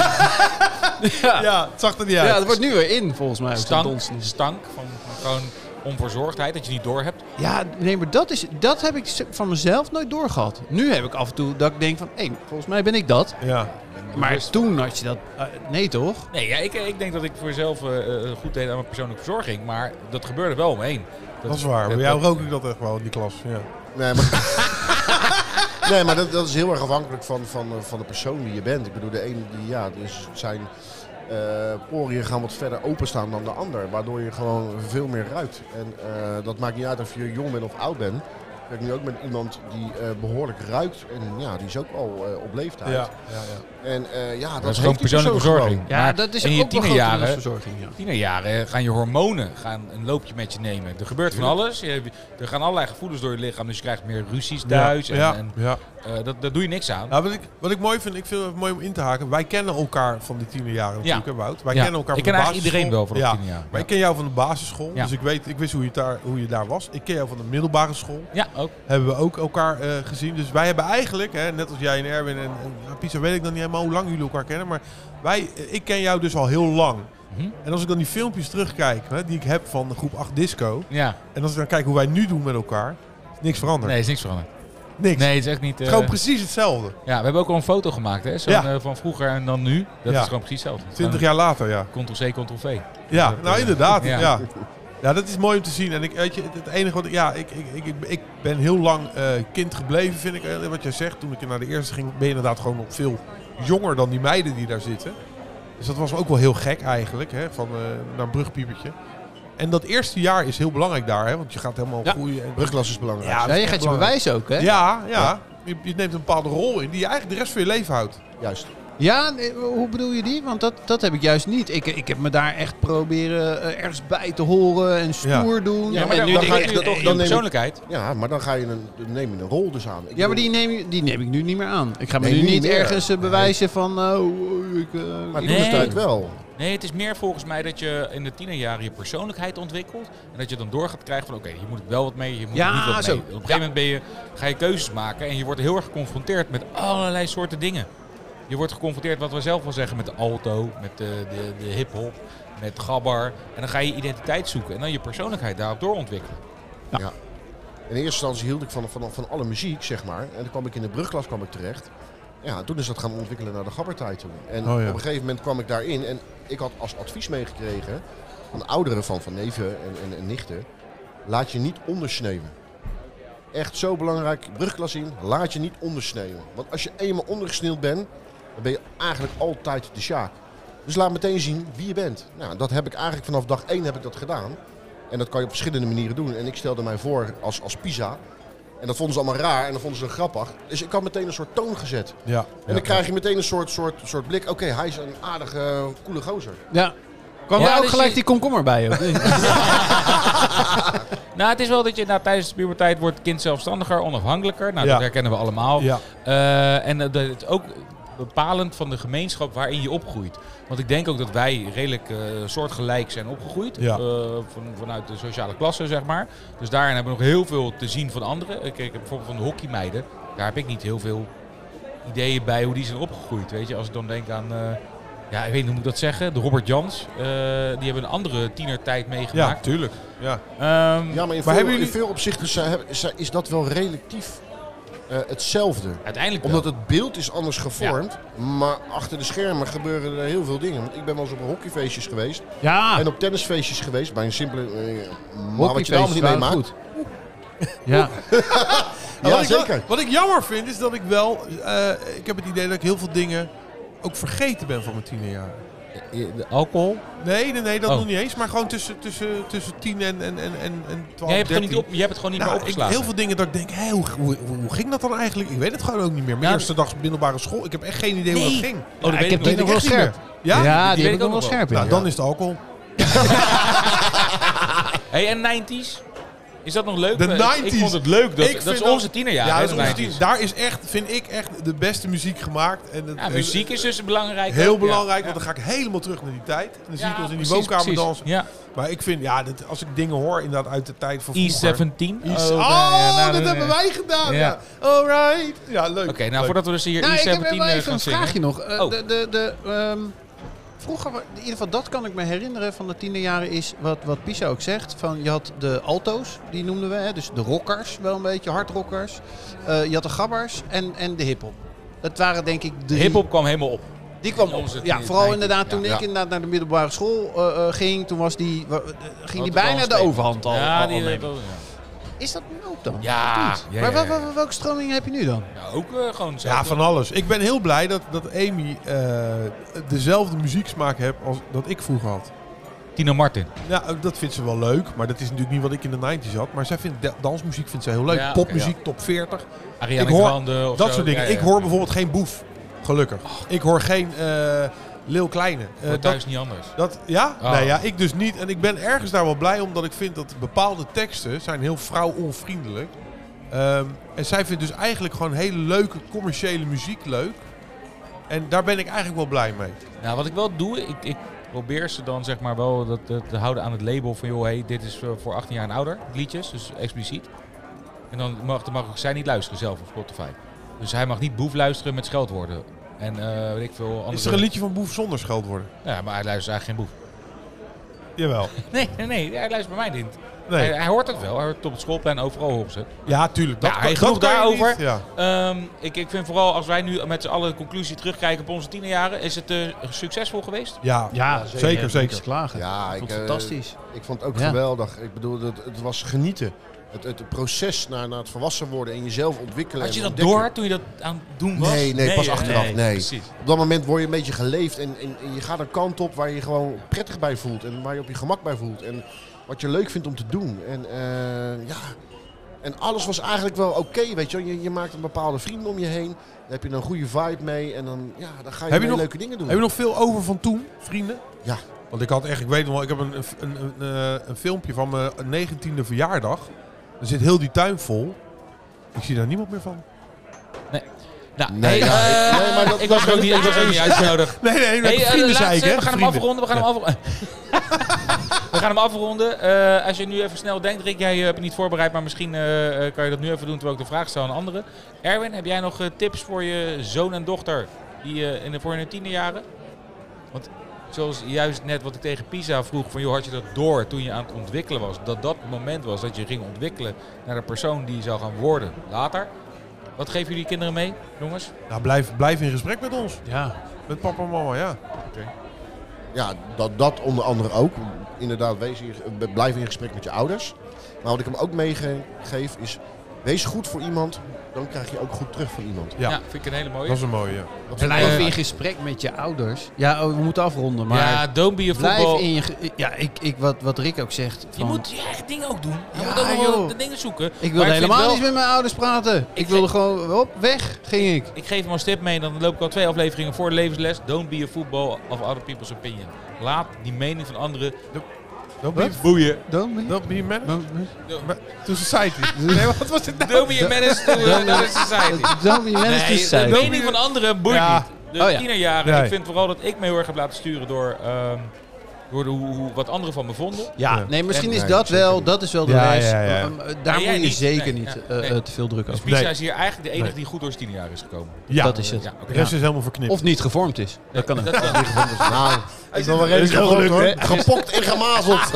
Speaker 4: Ja, het zag er niet uit.
Speaker 3: Ja, dat wordt nu weer in volgens mij. ook, zo'n
Speaker 1: Stank,
Speaker 3: donsens.
Speaker 1: stank van, van gewoon onverzorgdheid, dat je niet door hebt.
Speaker 3: Ja, nee, maar dat, is, dat heb ik z- van mezelf nooit doorgehad. Nu heb ik af en toe dat ik denk van, hé, volgens mij ben ik dat.
Speaker 4: Ja.
Speaker 3: Maar toen had je dat... eh, nee, toch?
Speaker 1: Nee, ja, ik, ik denk dat ik voor mezelf eh, eh, goed deed aan mijn persoonlijke verzorging, maar dat gebeurde wel omheen.
Speaker 4: Dat is waar. Bij
Speaker 1: dat-
Speaker 4: jou
Speaker 1: dat-
Speaker 4: rook ik dat echt wel in die klas. Ja.
Speaker 2: Nee, maar, nee, maar dat, dat is heel erg afhankelijk van, van, eh, van de persoon die je bent. Ik bedoel, de ene die, ja, dus zijn eh poriën gaan wat verder openstaan dan de ander. Waardoor je gewoon veel meer ruikt. En eh, dat maakt niet uit of je jong bent of oud bent. Ik werk nu ook met iemand die eh, behoorlijk ruikt. En ja, die is ook al eh, op leeftijd.
Speaker 4: Ja, ja, ja.
Speaker 2: En eh, ja, dat,
Speaker 1: Dat is gewoon
Speaker 2: heeft die persoon
Speaker 1: persoonlijke verzorging.
Speaker 2: gewoon.
Speaker 3: Ja,
Speaker 1: Maar
Speaker 3: dat is
Speaker 1: in je
Speaker 3: ook wel grote
Speaker 1: tienerjaren-
Speaker 3: onderwijsverzorging, ja.
Speaker 1: tienerjaren gaan je hormonen gaan een loopje met je nemen. Er gebeurt van alles. Je- er gaan allerlei gevoelens door je lichaam. Dus je krijgt meer ruzies thuis.
Speaker 4: Ja,
Speaker 1: En,
Speaker 4: ja,
Speaker 1: en,
Speaker 4: ja.
Speaker 1: eh, dat, daar doe je niks aan.
Speaker 4: Nou, wat, ik, wat ik mooi vind, ik vind het mooi om in te haken. Wij kennen elkaar van die tienerjaren natuurlijk,
Speaker 1: Ja.
Speaker 4: hè, Wout? Wij
Speaker 1: Ja.
Speaker 4: kennen elkaar
Speaker 1: Ik
Speaker 4: van
Speaker 1: ken
Speaker 4: de
Speaker 1: eigenlijk iedereen wel van
Speaker 4: basisschool.
Speaker 1: op
Speaker 4: ja.
Speaker 1: tien jaar.
Speaker 4: Maar
Speaker 1: Ja.
Speaker 4: ik ken jou van de basisschool,
Speaker 1: Ja.
Speaker 4: dus ik, weet, ik wist hoe je, daar, hoe je daar was. Ik ken jou van de middelbare school.
Speaker 1: Ja, ook.
Speaker 4: Hebben we ook elkaar eh, gezien. Dus wij hebben eigenlijk, hè, net als jij en Erwin en, en ja, Pisa, weet ik dan niet helemaal hoe lang jullie elkaar kennen. Maar wij, ik ken jou dus al heel lang.
Speaker 1: Mhm.
Speaker 4: En als ik dan die filmpjes terugkijk, hè, die ik heb van de groep 8 Disco.
Speaker 1: Ja,
Speaker 4: En als ik dan kijk hoe wij nu doen met elkaar, is niks veranderd.
Speaker 1: nee, is niks veranderd.
Speaker 4: Niks.
Speaker 1: Nee, het is echt niet...
Speaker 4: Het
Speaker 1: eh,
Speaker 4: is gewoon precies hetzelfde.
Speaker 1: ja, we hebben ook al een foto gemaakt hè, zo'n,
Speaker 4: Ja.
Speaker 1: eh, van vroeger en dan nu. Dat
Speaker 4: Ja.
Speaker 1: is gewoon precies hetzelfde.
Speaker 4: 20 jaar later, ja.
Speaker 1: Ctrl-C, Ctrl-V.
Speaker 4: Ja,
Speaker 1: Dat,
Speaker 4: nou
Speaker 1: eh,
Speaker 4: inderdaad.
Speaker 1: ja.
Speaker 4: Ja. Ja. dat is mooi om te zien. En ik, weet je, het- het enige wat ik, ja, ik, ik, ik, ik, ik ben heel lang eh, kind gebleven, vind ik. eh, Wat jij zegt, toen ik naar de eerste ging, ben je inderdaad gewoon nog veel jonger dan die meiden die daar zitten. Dus dat was ook wel heel gek eigenlijk, hè, van eh, naar een brugpiepertje. En dat eerste jaar is heel belangrijk daar, hè, want je gaat helemaal
Speaker 3: Ja.
Speaker 4: groeien. En,
Speaker 2: Brugklas is belangrijk.
Speaker 4: Ja,
Speaker 3: Ja, je gaat je bewijzen ook, hè?
Speaker 4: ja, ja. Je, je neemt een bepaalde rol in die je eigenlijk de rest van je leven houdt.
Speaker 2: Juist.
Speaker 3: Ja, nee, hoe bedoel je die? Want dat, dat heb ik juist niet. Ik, ik heb me daar echt proberen eh, ergens bij te horen en stoer doen.
Speaker 2: Ja, maar
Speaker 3: en
Speaker 2: dan-
Speaker 3: nu
Speaker 2: dan
Speaker 3: denk
Speaker 2: ga
Speaker 3: ik
Speaker 2: je-
Speaker 3: echt,
Speaker 2: dat-
Speaker 3: eh,
Speaker 2: dan
Speaker 1: Je
Speaker 2: neem ik-
Speaker 1: persoonlijkheid.
Speaker 2: Ja, maar dan ga je een, dan neem je een rol dus aan. Ik
Speaker 3: ja, maar
Speaker 2: bedoel-
Speaker 3: die neem, die neem ik nu niet meer aan. Ik ga me
Speaker 2: Nee,
Speaker 3: nu
Speaker 2: niet
Speaker 3: niet
Speaker 2: meer.
Speaker 3: ergens eh, bewijzen van... eh, oh, ik, eh,
Speaker 2: Maar
Speaker 3: ik-
Speaker 2: toen is
Speaker 1: Nee.
Speaker 2: tijd wel.
Speaker 1: Nee, het is meer volgens mij dat je in de tienerjaren je persoonlijkheid ontwikkelt. En dat je dan door gaat krijgen van oké, hier moet ik wel wat mee, hier moet
Speaker 3: Ja,
Speaker 1: ik niet wat
Speaker 3: zo.
Speaker 1: mee. Op een gegeven moment ben je, ga je keuzes maken en je wordt heel erg geconfronteerd met allerlei soorten dingen. Je wordt geconfronteerd, wat we zelf wel zeggen, met de alto, met de, de, de hip-hop, met gabber. En dan ga je je identiteit zoeken en dan je persoonlijkheid daarop doorontwikkelen.
Speaker 2: In eerste instantie hield ik van, van, van alle muziek, zeg maar. En toen kwam ik in de brugklas kwam ik terecht. Ja, toen is dat gaan ontwikkelen naar de gabbertijd toe. En
Speaker 4: Oh ja.
Speaker 2: op een gegeven moment kwam ik daarin. En ik had als advies meegekregen van ouderen, van, van neven en, en, en nichten. Laat je niet ondersneeuwen. Echt zo belangrijk. Brugklas in, laat je niet ondersneeuwen. Want als je eenmaal ondergesneeuwd bent, dan ben je eigenlijk altijd de sjaak. Dus laat meteen zien wie je bent. Nou, dat heb ik eigenlijk vanaf dag één heb ik dat gedaan. En dat kan je op verschillende manieren doen. En ik stelde mij voor als, als Pisa. En dat vonden ze allemaal raar en dat vonden ze grappig. Dus ik had meteen een soort toon gezet.
Speaker 4: Ja.
Speaker 2: En dan krijg je meteen een soort, soort, soort blik. Oké, hij is een aardige, coole gozer.
Speaker 3: Ja. Kwam
Speaker 1: Ja,
Speaker 3: daar ook
Speaker 1: dus
Speaker 3: gelijk
Speaker 1: je-
Speaker 3: die komkommer bij? Ook?
Speaker 1: Nou, het is wel dat je nou, tijdens de puberteit wordt het kind zelfstandiger, onafhankelijker. Nou,
Speaker 4: Ja.
Speaker 1: dat herkennen we allemaal.
Speaker 4: Ja.
Speaker 1: Eh, en eh, dat het ook bepalend van de gemeenschap waarin je opgroeit. Want ik denk ook dat wij redelijk eh, soortgelijk zijn opgegroeid.
Speaker 4: Ja.
Speaker 1: Eh, van, vanuit de sociale klasse, zeg maar. Dus daarin hebben we nog heel veel te zien van anderen. Ik, ik heb bijvoorbeeld van de hockeymeiden. Daar heb ik niet heel veel ideeën bij hoe die zijn opgegroeid. Weet je, als ik dan denk aan... eh, ja, ik weet niet hoe moet ik dat zeggen. De Robert Jans. eh, die hebben een andere tienertijd
Speaker 4: Ja,
Speaker 1: meegemaakt.
Speaker 4: tuurlijk. Ja.
Speaker 1: Ehm,
Speaker 2: Ja, maar in,
Speaker 4: Maar
Speaker 2: veel,
Speaker 4: hebben jullie-
Speaker 2: in veel opzichten zijn- hebben- zijn- is dat wel relatief eh, hetzelfde.
Speaker 1: Uiteindelijk wel.
Speaker 2: Omdat het beeld is anders gevormd. Maar achter de schermen gebeuren er heel veel dingen. Want ik ben wel eens op hockeyfeestjes geweest.
Speaker 4: Ah.
Speaker 3: ja,
Speaker 2: En op tennisfeestjes geweest. Bij een simpele... eh, maar wat je daar allemaal
Speaker 3: hockeyfeestjes
Speaker 2: niet
Speaker 3: waren
Speaker 2: mee maakt.
Speaker 3: goed. Ja.
Speaker 4: Maar
Speaker 2: Ja,
Speaker 4: wat, ik wel-
Speaker 2: zeker.
Speaker 4: wat ik jammer vind is dat ik wel. eh, ik heb het idee dat ik heel veel dingen ook vergeten ben van mijn tienerjaren.
Speaker 1: De alcohol?
Speaker 4: Nee, nee, nee, dat
Speaker 1: Oh.
Speaker 4: nog niet eens. Maar gewoon tussen, tussen, tussen tien en, en, en, en, en twaalf.
Speaker 1: Jij hebt, het gewoon niet op,
Speaker 4: 13.
Speaker 1: je hebt het gewoon niet
Speaker 4: Nou,
Speaker 1: meer
Speaker 4: ik-
Speaker 1: opgeslagen.
Speaker 4: heel veel dingen dat ik denk, hé, hoe, hoe, hoe- hoe ging dat dan eigenlijk? Ik weet het gewoon ook niet meer. Mijn
Speaker 1: Ja.
Speaker 4: eerste dag middelbare school, ik heb echt geen idee hoe
Speaker 1: Nee.
Speaker 4: dat ging.
Speaker 1: Oh,
Speaker 3: Ja,
Speaker 1: dat weet
Speaker 3: ik heb
Speaker 1: nog niet.
Speaker 3: die nog wel
Speaker 4: echt niet meer.
Speaker 3: scherp.
Speaker 4: Ja?
Speaker 3: Ja,
Speaker 1: weet
Speaker 3: die,
Speaker 1: ik
Speaker 3: heb ik nog
Speaker 1: ook
Speaker 3: wel
Speaker 1: nog wel.
Speaker 3: scherp. ja.
Speaker 4: Nou, dan is het alcohol.
Speaker 1: Hey, en 90s? Is dat nog leuk? Eh,
Speaker 4: De
Speaker 1: Ik-
Speaker 4: 90s.
Speaker 1: Ik vond het leuk. Dat,
Speaker 4: Ik
Speaker 1: dat
Speaker 4: vind
Speaker 1: is
Speaker 4: dat-
Speaker 1: onze tienerjaren.
Speaker 4: ja,
Speaker 1: hè,
Speaker 4: dat is
Speaker 1: de
Speaker 4: onze
Speaker 1: 90s.
Speaker 4: tien. Daar is echt, vind ik echt de beste muziek gemaakt. En het-
Speaker 1: Ja, muziek is dus belangrijk.
Speaker 4: Heel
Speaker 1: ook.
Speaker 4: belangrijk,
Speaker 1: Ja.
Speaker 4: want dan ga ik helemaal terug naar die tijd. En dan zie
Speaker 1: Ja,
Speaker 4: ik ons in die
Speaker 1: precies,
Speaker 4: woonkamer
Speaker 1: precies.
Speaker 4: dansen.
Speaker 1: Ja.
Speaker 4: Maar ik vind, ja, dit- als ik dingen hoor inderdaad uit de tijd van vroeger.
Speaker 1: E17.
Speaker 4: I-
Speaker 1: Oh,
Speaker 4: Oh,
Speaker 1: nou ja, nou,
Speaker 4: dat
Speaker 1: dan-
Speaker 4: hebben wij gedaan.
Speaker 1: Ja.
Speaker 4: Ja. Alright. Ja, leuk.
Speaker 1: Oké, nou
Speaker 4: Leuk.
Speaker 1: voordat we dus hier
Speaker 3: Nou, ik heb
Speaker 1: E17
Speaker 3: wel
Speaker 1: eh,
Speaker 3: even
Speaker 1: gaan
Speaker 3: een
Speaker 1: zingen.
Speaker 3: vraagje nog. Eh,
Speaker 1: Oh.
Speaker 3: De, de, de, ehm, vroeger, wa- in ieder geval dat kan ik me herinneren van de tienerjaren, is wat, wat Pisa ook zegt. Van, je had de alto's, die noemden we, hè, dus de rockers wel een beetje, hardrockers. Eh, je had de gabbers en, en de hiphop. Dat waren denk ik
Speaker 1: De
Speaker 3: drie.
Speaker 1: hip-hop kwam helemaal op.
Speaker 3: Die kwam
Speaker 1: Ja,
Speaker 3: op.
Speaker 1: onze
Speaker 3: Ja,
Speaker 1: tijd,
Speaker 3: vooral
Speaker 1: denk
Speaker 3: inderdaad
Speaker 1: ik.
Speaker 3: toen
Speaker 2: Ja,
Speaker 3: ik
Speaker 2: ja.
Speaker 3: inderdaad naar de middelbare school eh, eh, ging. Toen was die, wa- eh, ging die
Speaker 2: wel
Speaker 3: bijna
Speaker 2: een
Speaker 3: de
Speaker 2: steek.
Speaker 3: overhand al.
Speaker 1: ja,
Speaker 3: al
Speaker 1: die,
Speaker 3: nemen.
Speaker 1: ja.
Speaker 3: Is dat nu ook dan?
Speaker 1: Ja.
Speaker 3: Of niet?
Speaker 1: Ja,
Speaker 3: maar
Speaker 1: ja,
Speaker 3: wa-
Speaker 1: ja.
Speaker 3: wa- wa- welke stroming heb je nu dan?
Speaker 1: Ja, ook eh, gewoon zo.
Speaker 4: Ja, van alles. Ik ben heel blij dat, dat Amy eh, dezelfde muzieksmaak heeft als dat ik vroeger had.
Speaker 1: Tino Martin.
Speaker 4: Ja, dat vindt ze wel leuk, maar dat is natuurlijk niet wat ik in de 90s had. Maar zij vindt da- dansmuziek vindt zij heel leuk.
Speaker 1: Ja, oké,
Speaker 4: Popmuziek, top 40,
Speaker 1: Ariana
Speaker 4: Ik hoor
Speaker 1: Grande of
Speaker 4: dat
Speaker 1: zo.
Speaker 4: soort dingen.
Speaker 1: Ja, ja.
Speaker 4: Ik hoor bijvoorbeeld geen Boef, gelukkig. Ik hoor geen eh Lil Kleine. Eh,
Speaker 1: Wordt
Speaker 4: dat,
Speaker 1: thuis niet anders.
Speaker 4: dat, ja?
Speaker 1: Oh.
Speaker 4: Nee, ja, ik dus niet. En ik ben ergens daar wel blij om, omdat ik vind dat bepaalde teksten zijn heel vrouwonvriendelijk. Ehm en zij vindt dus eigenlijk gewoon hele leuke commerciële muziek leuk. En daar ben ik eigenlijk wel blij mee.
Speaker 1: Nou, wat ik wel doe, ik, ik probeer ze dan zeg maar wel dat, dat te houden aan het label van joh, hey, dit is eh, voor 18 jaar en ouder, liedjes, dus expliciet. En dan mag, dan mag ook zij niet luisteren zelf op Spotify. Dus hij mag niet boef luisteren met scheldwoorden. En eh weet ik veel andere...
Speaker 4: Is er een liedje van Boef zonder scheldwoorden?
Speaker 1: Ja, maar hij luistert eigenlijk geen boef.
Speaker 4: Jawel.
Speaker 1: Nee, nee, nee, hij luistert bij mij niet.
Speaker 4: Nee.
Speaker 1: Hij, hij hoort het wel, hij hoort het op het schoolplein overal horen ze.
Speaker 4: Ja, tuurlijk. Dat,
Speaker 1: Ja,
Speaker 4: kan-
Speaker 1: hij genoeg
Speaker 4: dat kan je
Speaker 1: daarover.
Speaker 4: niet. Ja.
Speaker 1: Ehm, ik, ik vind vooral als wij nu met z'n allen de conclusie terugkijken op onze tienerjaren, is het eh, succesvol geweest?
Speaker 4: Ja. zeker, zeker.
Speaker 3: Klagen.
Speaker 2: Ja, ik, eh,
Speaker 3: fantastisch.
Speaker 2: Ik vond het ook
Speaker 3: Ja.
Speaker 2: geweldig. Ik bedoel, het, het was genieten. Het, het proces naar, naar het volwassen worden en jezelf ontwikkelen.
Speaker 1: Had je
Speaker 2: en
Speaker 1: dat
Speaker 2: ontdekken.
Speaker 1: door toen je dat aan het doen was?
Speaker 2: Nee, nee, pas
Speaker 1: hè?
Speaker 2: achteraf, nee.
Speaker 1: Precies.
Speaker 2: Op dat moment word je een beetje geleefd en, en, en je gaat een kant op waar je je gewoon prettig bij voelt. En waar je op je gemak bij voelt. En wat je leuk vindt om te doen. En eh, ja... En alles was eigenlijk wel oké, weet je wel. Je, je maakt een bepaalde vrienden om je heen. Daar heb je een goede vibe mee. En dan, ja, dan ga je,
Speaker 4: Heb je nog-
Speaker 2: weer leuke dingen doen.
Speaker 4: Heb je nog veel over van toen, vrienden?
Speaker 2: Ja.
Speaker 4: Want ik had echt, ik weet nog wel, ik heb een, een, een, eh, een filmpje van mijn 19e verjaardag. Er zit heel die tuin vol. Ik zie daar niemand meer van.
Speaker 1: Nou, hey,
Speaker 2: Nee, ja,
Speaker 1: eh,
Speaker 2: ik- nee, maar dat-
Speaker 1: ik was er ook niet, ik was er ook niet uitgenodigd.
Speaker 4: Nee, nee,
Speaker 1: Hey, eh,
Speaker 4: vrienden zei ik,
Speaker 1: laatste,
Speaker 4: hè?
Speaker 1: we gaan hem
Speaker 4: vrienden.
Speaker 1: afronden. We gaan hem afronden. we gaan hem afronden. Eh, als je nu even snel denkt, Rick, jij eh, hebt het niet voorbereid, maar misschien eh, eh, kan je dat nu even doen terwijl ik de vraag stel aan anderen. Erwin, heb jij nog eh, tips voor je zoon en dochter die, eh, in de, voor hun tienerjaren? Want zoals juist net wat ik tegen Pisa vroeg, van joh, had je dat door toen je aan het ontwikkelen was? Dat dat het moment was dat je ging ontwikkelen naar de persoon die je zou gaan worden later. Wat geven jullie kinderen mee, jongens?
Speaker 4: Nou, blijf, blijf in gesprek met ons.
Speaker 3: Ja.
Speaker 4: Met papa en mama, ja.
Speaker 1: Oh,
Speaker 2: Ja, dat, dat onder andere ook. Inderdaad, wees hier, blijf in gesprek met je ouders. Maar wat ik hem ook meegeef is, wees goed voor iemand, dan krijg je ook goed terug van iemand.
Speaker 4: Ja.
Speaker 1: vind ik een hele
Speaker 4: Dat
Speaker 1: mooie.
Speaker 4: is een mooie. ja.
Speaker 2: Dat vind ik
Speaker 3: Blijf
Speaker 2: wel-
Speaker 3: in gesprek met je ouders. Ja, oh, we moeten afronden, maar...
Speaker 1: ja, don't be a
Speaker 3: Blijf
Speaker 1: football.
Speaker 3: in je... ge- Ja, ik, ik, wat, wat Rick ook zegt.
Speaker 1: Je
Speaker 3: van-
Speaker 1: moet je eigen dingen ook doen. Je
Speaker 3: Ja,
Speaker 1: moet ook wel
Speaker 3: joh.
Speaker 1: de dingen zoeken.
Speaker 3: Ik
Speaker 1: Maar
Speaker 3: wilde
Speaker 1: vind
Speaker 3: helemaal
Speaker 1: wel-
Speaker 3: niet met mijn ouders praten. Ik,
Speaker 1: vind-
Speaker 3: wilde gewoon... Hop, weg ging ik.
Speaker 1: Ik geef hem als tip mee en dan loop ik al twee afleveringen voor de levensles. Don't be a football of other people's opinion. Laat die mening van anderen
Speaker 4: Don't be,
Speaker 1: boeien.
Speaker 4: don't be a man to society.
Speaker 3: Nee, wat was het
Speaker 1: Don't be a menace to
Speaker 3: Don't-
Speaker 1: another society.
Speaker 3: Don't be managed
Speaker 1: Nee,
Speaker 3: to say.
Speaker 1: de mening van anderen boeit
Speaker 4: Ja.
Speaker 1: niet. De
Speaker 3: Oh ja.
Speaker 1: tienerjaren,
Speaker 4: Nee.
Speaker 1: ik vind vooral dat ik me heel erg heb laten sturen door, ehm, door de, hoe, hoe- wat anderen van me vonden.
Speaker 4: Ja.
Speaker 3: Nee, misschien
Speaker 2: Nee,
Speaker 3: is dat
Speaker 2: zeker
Speaker 3: wel,
Speaker 2: niet.
Speaker 3: dat is wel de
Speaker 4: Ja,
Speaker 3: les.
Speaker 4: ja, ja.
Speaker 3: Eh, eh, Daar
Speaker 1: Nee, jij
Speaker 3: moet je
Speaker 1: niet.
Speaker 3: zeker
Speaker 1: Nee,
Speaker 3: niet
Speaker 1: ja,
Speaker 3: eh,
Speaker 1: nee.
Speaker 3: eh, te veel druk
Speaker 1: Dus
Speaker 3: over.
Speaker 1: Pisa
Speaker 4: Nee.
Speaker 1: is hier eigenlijk de enige
Speaker 4: Nee.
Speaker 1: die goed door zijn tienerjaren is gekomen.
Speaker 4: Ja,
Speaker 3: Dat is het.
Speaker 1: Ja, oké.
Speaker 4: de rest is helemaal verknipt.
Speaker 3: Of niet gevormd is. Dat kan ook.
Speaker 1: Dat wel.
Speaker 2: Nou, ik ben wel redelijk
Speaker 4: is wel
Speaker 2: gelukt hoor.
Speaker 4: gelukt,
Speaker 2: Gepokt en gemazeld.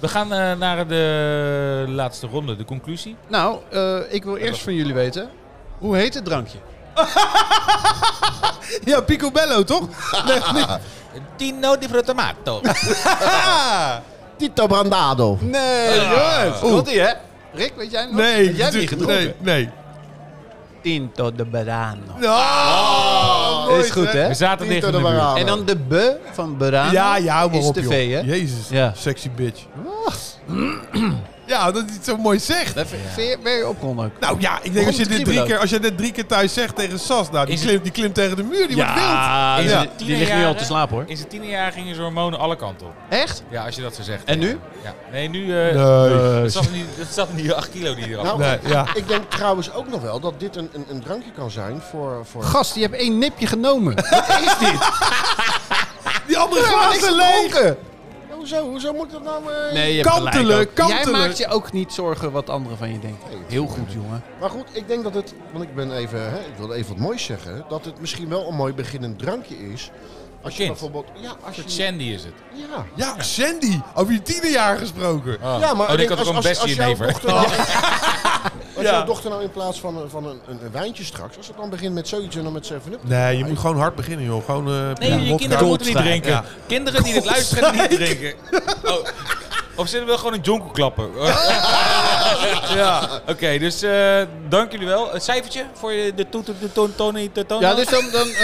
Speaker 1: We gaan eh, naar de laatste ronde, de conclusie.
Speaker 3: Nou, eh, ik wil eerst van jullie weten. Hoe heet het drankje?
Speaker 4: ja, Picobello, toch?
Speaker 1: Tino di Fruttomato.
Speaker 2: Tito Brandado.
Speaker 3: Nee, jongens. Komt ie, hè? Rick, weet jij nog?
Speaker 4: Ah. Nee.
Speaker 3: Heb jij hebt
Speaker 4: natuurlijk-
Speaker 3: niet gedronken.
Speaker 4: Nee, nee.
Speaker 3: Tinto de Barano.
Speaker 4: Ah,
Speaker 3: is
Speaker 4: nooit,
Speaker 3: goed, hè?
Speaker 1: We zaten dicht
Speaker 2: Tito
Speaker 1: in
Speaker 2: de
Speaker 1: de buurt.
Speaker 2: Brandado.
Speaker 3: En dan de B van Barano
Speaker 4: Ah, Ja, ja, hou maar
Speaker 3: is
Speaker 4: op,
Speaker 3: de
Speaker 4: joh.
Speaker 3: V, hè?
Speaker 4: Jezus,
Speaker 3: Ja.
Speaker 4: sexy bitch. ja, dat hij het zo mooi zegt.
Speaker 3: Dat vind- vind je- ben je opgewonden ook.
Speaker 4: Nou ja, ik denk als je, dit drie
Speaker 3: Rondkriebelen.
Speaker 4: keer, als je dit drie keer thuis zegt tegen Sas, nou, die,
Speaker 1: Is-
Speaker 4: klimt, die klimt tegen de muur, die wordt wild.
Speaker 1: In
Speaker 4: Ja.
Speaker 1: zijn
Speaker 3: Die, die ligt nu al te
Speaker 1: tienerjaren-
Speaker 3: slapen, hoor.
Speaker 1: In zijn tiende jaar gingen zijn hormonen alle kanten op.
Speaker 3: Echt?
Speaker 1: Ja, als je dat zo zegt.
Speaker 3: En nu?
Speaker 1: Ja. Nee, nu... eh
Speaker 4: Nee.
Speaker 1: Het zat niet, het zat niet 8 kilo die eraf.
Speaker 2: Nou,
Speaker 4: Nee, ja.
Speaker 2: ik denk trouwens ook nog wel dat dit een, een, een drankje kan zijn voor... voor...
Speaker 3: Gast, die hebt één nipje genomen. Wat is dit?
Speaker 4: Die andere
Speaker 2: Ja,
Speaker 4: glazen
Speaker 2: niks
Speaker 4: leeg.
Speaker 2: gedronken. hoezo? Hoezo moet dat nou... eh,
Speaker 3: Nee, je hebt gelijk
Speaker 4: Kantelen,
Speaker 3: ook. Jij
Speaker 4: kantelen.
Speaker 3: maakt je ook niet zorgen wat anderen van je denken.
Speaker 2: Nee,
Speaker 3: Heel goed, jongen.
Speaker 2: Maar goed, ik denk dat het, want ik ben even, hè, ik wilde even wat moois zeggen, dat het misschien wel een mooi beginnend drankje is. Als je
Speaker 1: Kind.
Speaker 2: bijvoorbeeld, ja, als je,
Speaker 1: Een soort Sandy is het.
Speaker 2: ja.
Speaker 4: Ja, Sandy. Over je tienerjaar gesproken.
Speaker 2: Ja, maar
Speaker 1: Oh,
Speaker 2: ik
Speaker 1: ik
Speaker 2: denk,
Speaker 1: had
Speaker 2: als,
Speaker 1: ook een
Speaker 2: als, als jouw
Speaker 1: bestie-never.
Speaker 2: dochter, nou- als
Speaker 4: Ja.
Speaker 2: jouw dochter nou in plaats van, van een, een, een wijntje straks, als het dan begint met zoiets en dan met 7-up.
Speaker 4: Nee, je moet gewoon hard beginnen, joh. Gewoon, eh,
Speaker 1: Nee,
Speaker 4: ja,
Speaker 1: je
Speaker 4: vodka.
Speaker 1: kinderen moeten niet
Speaker 4: Goldstrike,
Speaker 1: drinken.
Speaker 4: ja.
Speaker 1: Kinderen die dit luisteren, niet drinken. Oh. Of zullen we gewoon een jonkel klappen? ja. Oké, dus eh, dank jullie wel. Een cijfertje voor je- de to- to- to- to- Tony de Tona?
Speaker 3: Ja, dus dan... dan eh,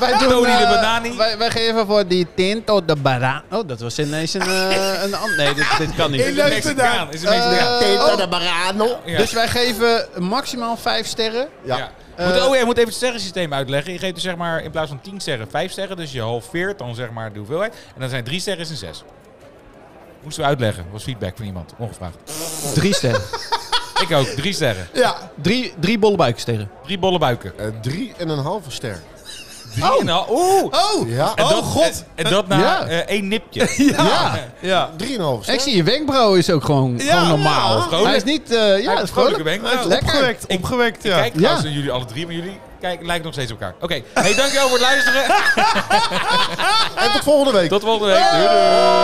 Speaker 3: wij doen,
Speaker 1: Tony de
Speaker 3: eh,
Speaker 1: Banani.
Speaker 3: Wij, wij geven voor die Tinto de Bara... Oh, dat was ineens een... eh, een an- nee, dit, dit kan niet.
Speaker 1: Is het een Mexicaan? Is het een Mexicaan?
Speaker 3: Eh, oh,
Speaker 2: de Barano.
Speaker 1: Ja.
Speaker 3: Dus wij geven maximaal vijf sterren.
Speaker 2: Ja.
Speaker 1: Ja. Moet- oh, jij moet even het sterrensysteem uitleggen. Je geeft dus zeg maar in plaats van 10 sterren 5 sterren. Dus je halveert dan zeg maar de hoeveelheid. En dan zijn 3 sterren is een 6. Moesten we uitleggen. Was feedback van iemand. Ongevraagd.
Speaker 3: Drie sterren.
Speaker 1: Ik ook. 3 sterren.
Speaker 3: Ja. Drie, drie bolle buiksterren.
Speaker 1: 3 bolle buiken.
Speaker 2: Eh, drie en een halve ster.
Speaker 1: Drie en al- Oeh!
Speaker 4: Oh!
Speaker 2: Ja,
Speaker 1: En
Speaker 4: Oh,
Speaker 1: dat,
Speaker 4: god.
Speaker 1: En, en dat na
Speaker 3: Ja.
Speaker 1: eh, één nipje.
Speaker 3: Ja.
Speaker 4: Ja.
Speaker 2: Oh, drie en een halve ster.
Speaker 3: Ik zie je wenkbrauw is ook gewoon,
Speaker 4: Ja.
Speaker 3: gewoon normaal.
Speaker 1: Ja, vrolijk.
Speaker 3: Hij is niet... eh ja,
Speaker 1: heeft
Speaker 3: het
Speaker 1: een
Speaker 3: is vrolijk.
Speaker 1: vrolijke wenkbrauw.
Speaker 3: Hij is Lekker.
Speaker 4: Opgewekt, opgewekt, ja.
Speaker 1: Kijk,
Speaker 3: Ja.
Speaker 1: trouwens naar jullie alle drie, maar jullie kijk, lijken nog steeds op elkaar. Oké, hey, dankjewel voor het luisteren.
Speaker 2: En tot volgende week.
Speaker 3: Ah.
Speaker 1: Tot volgende week. Doei, doei.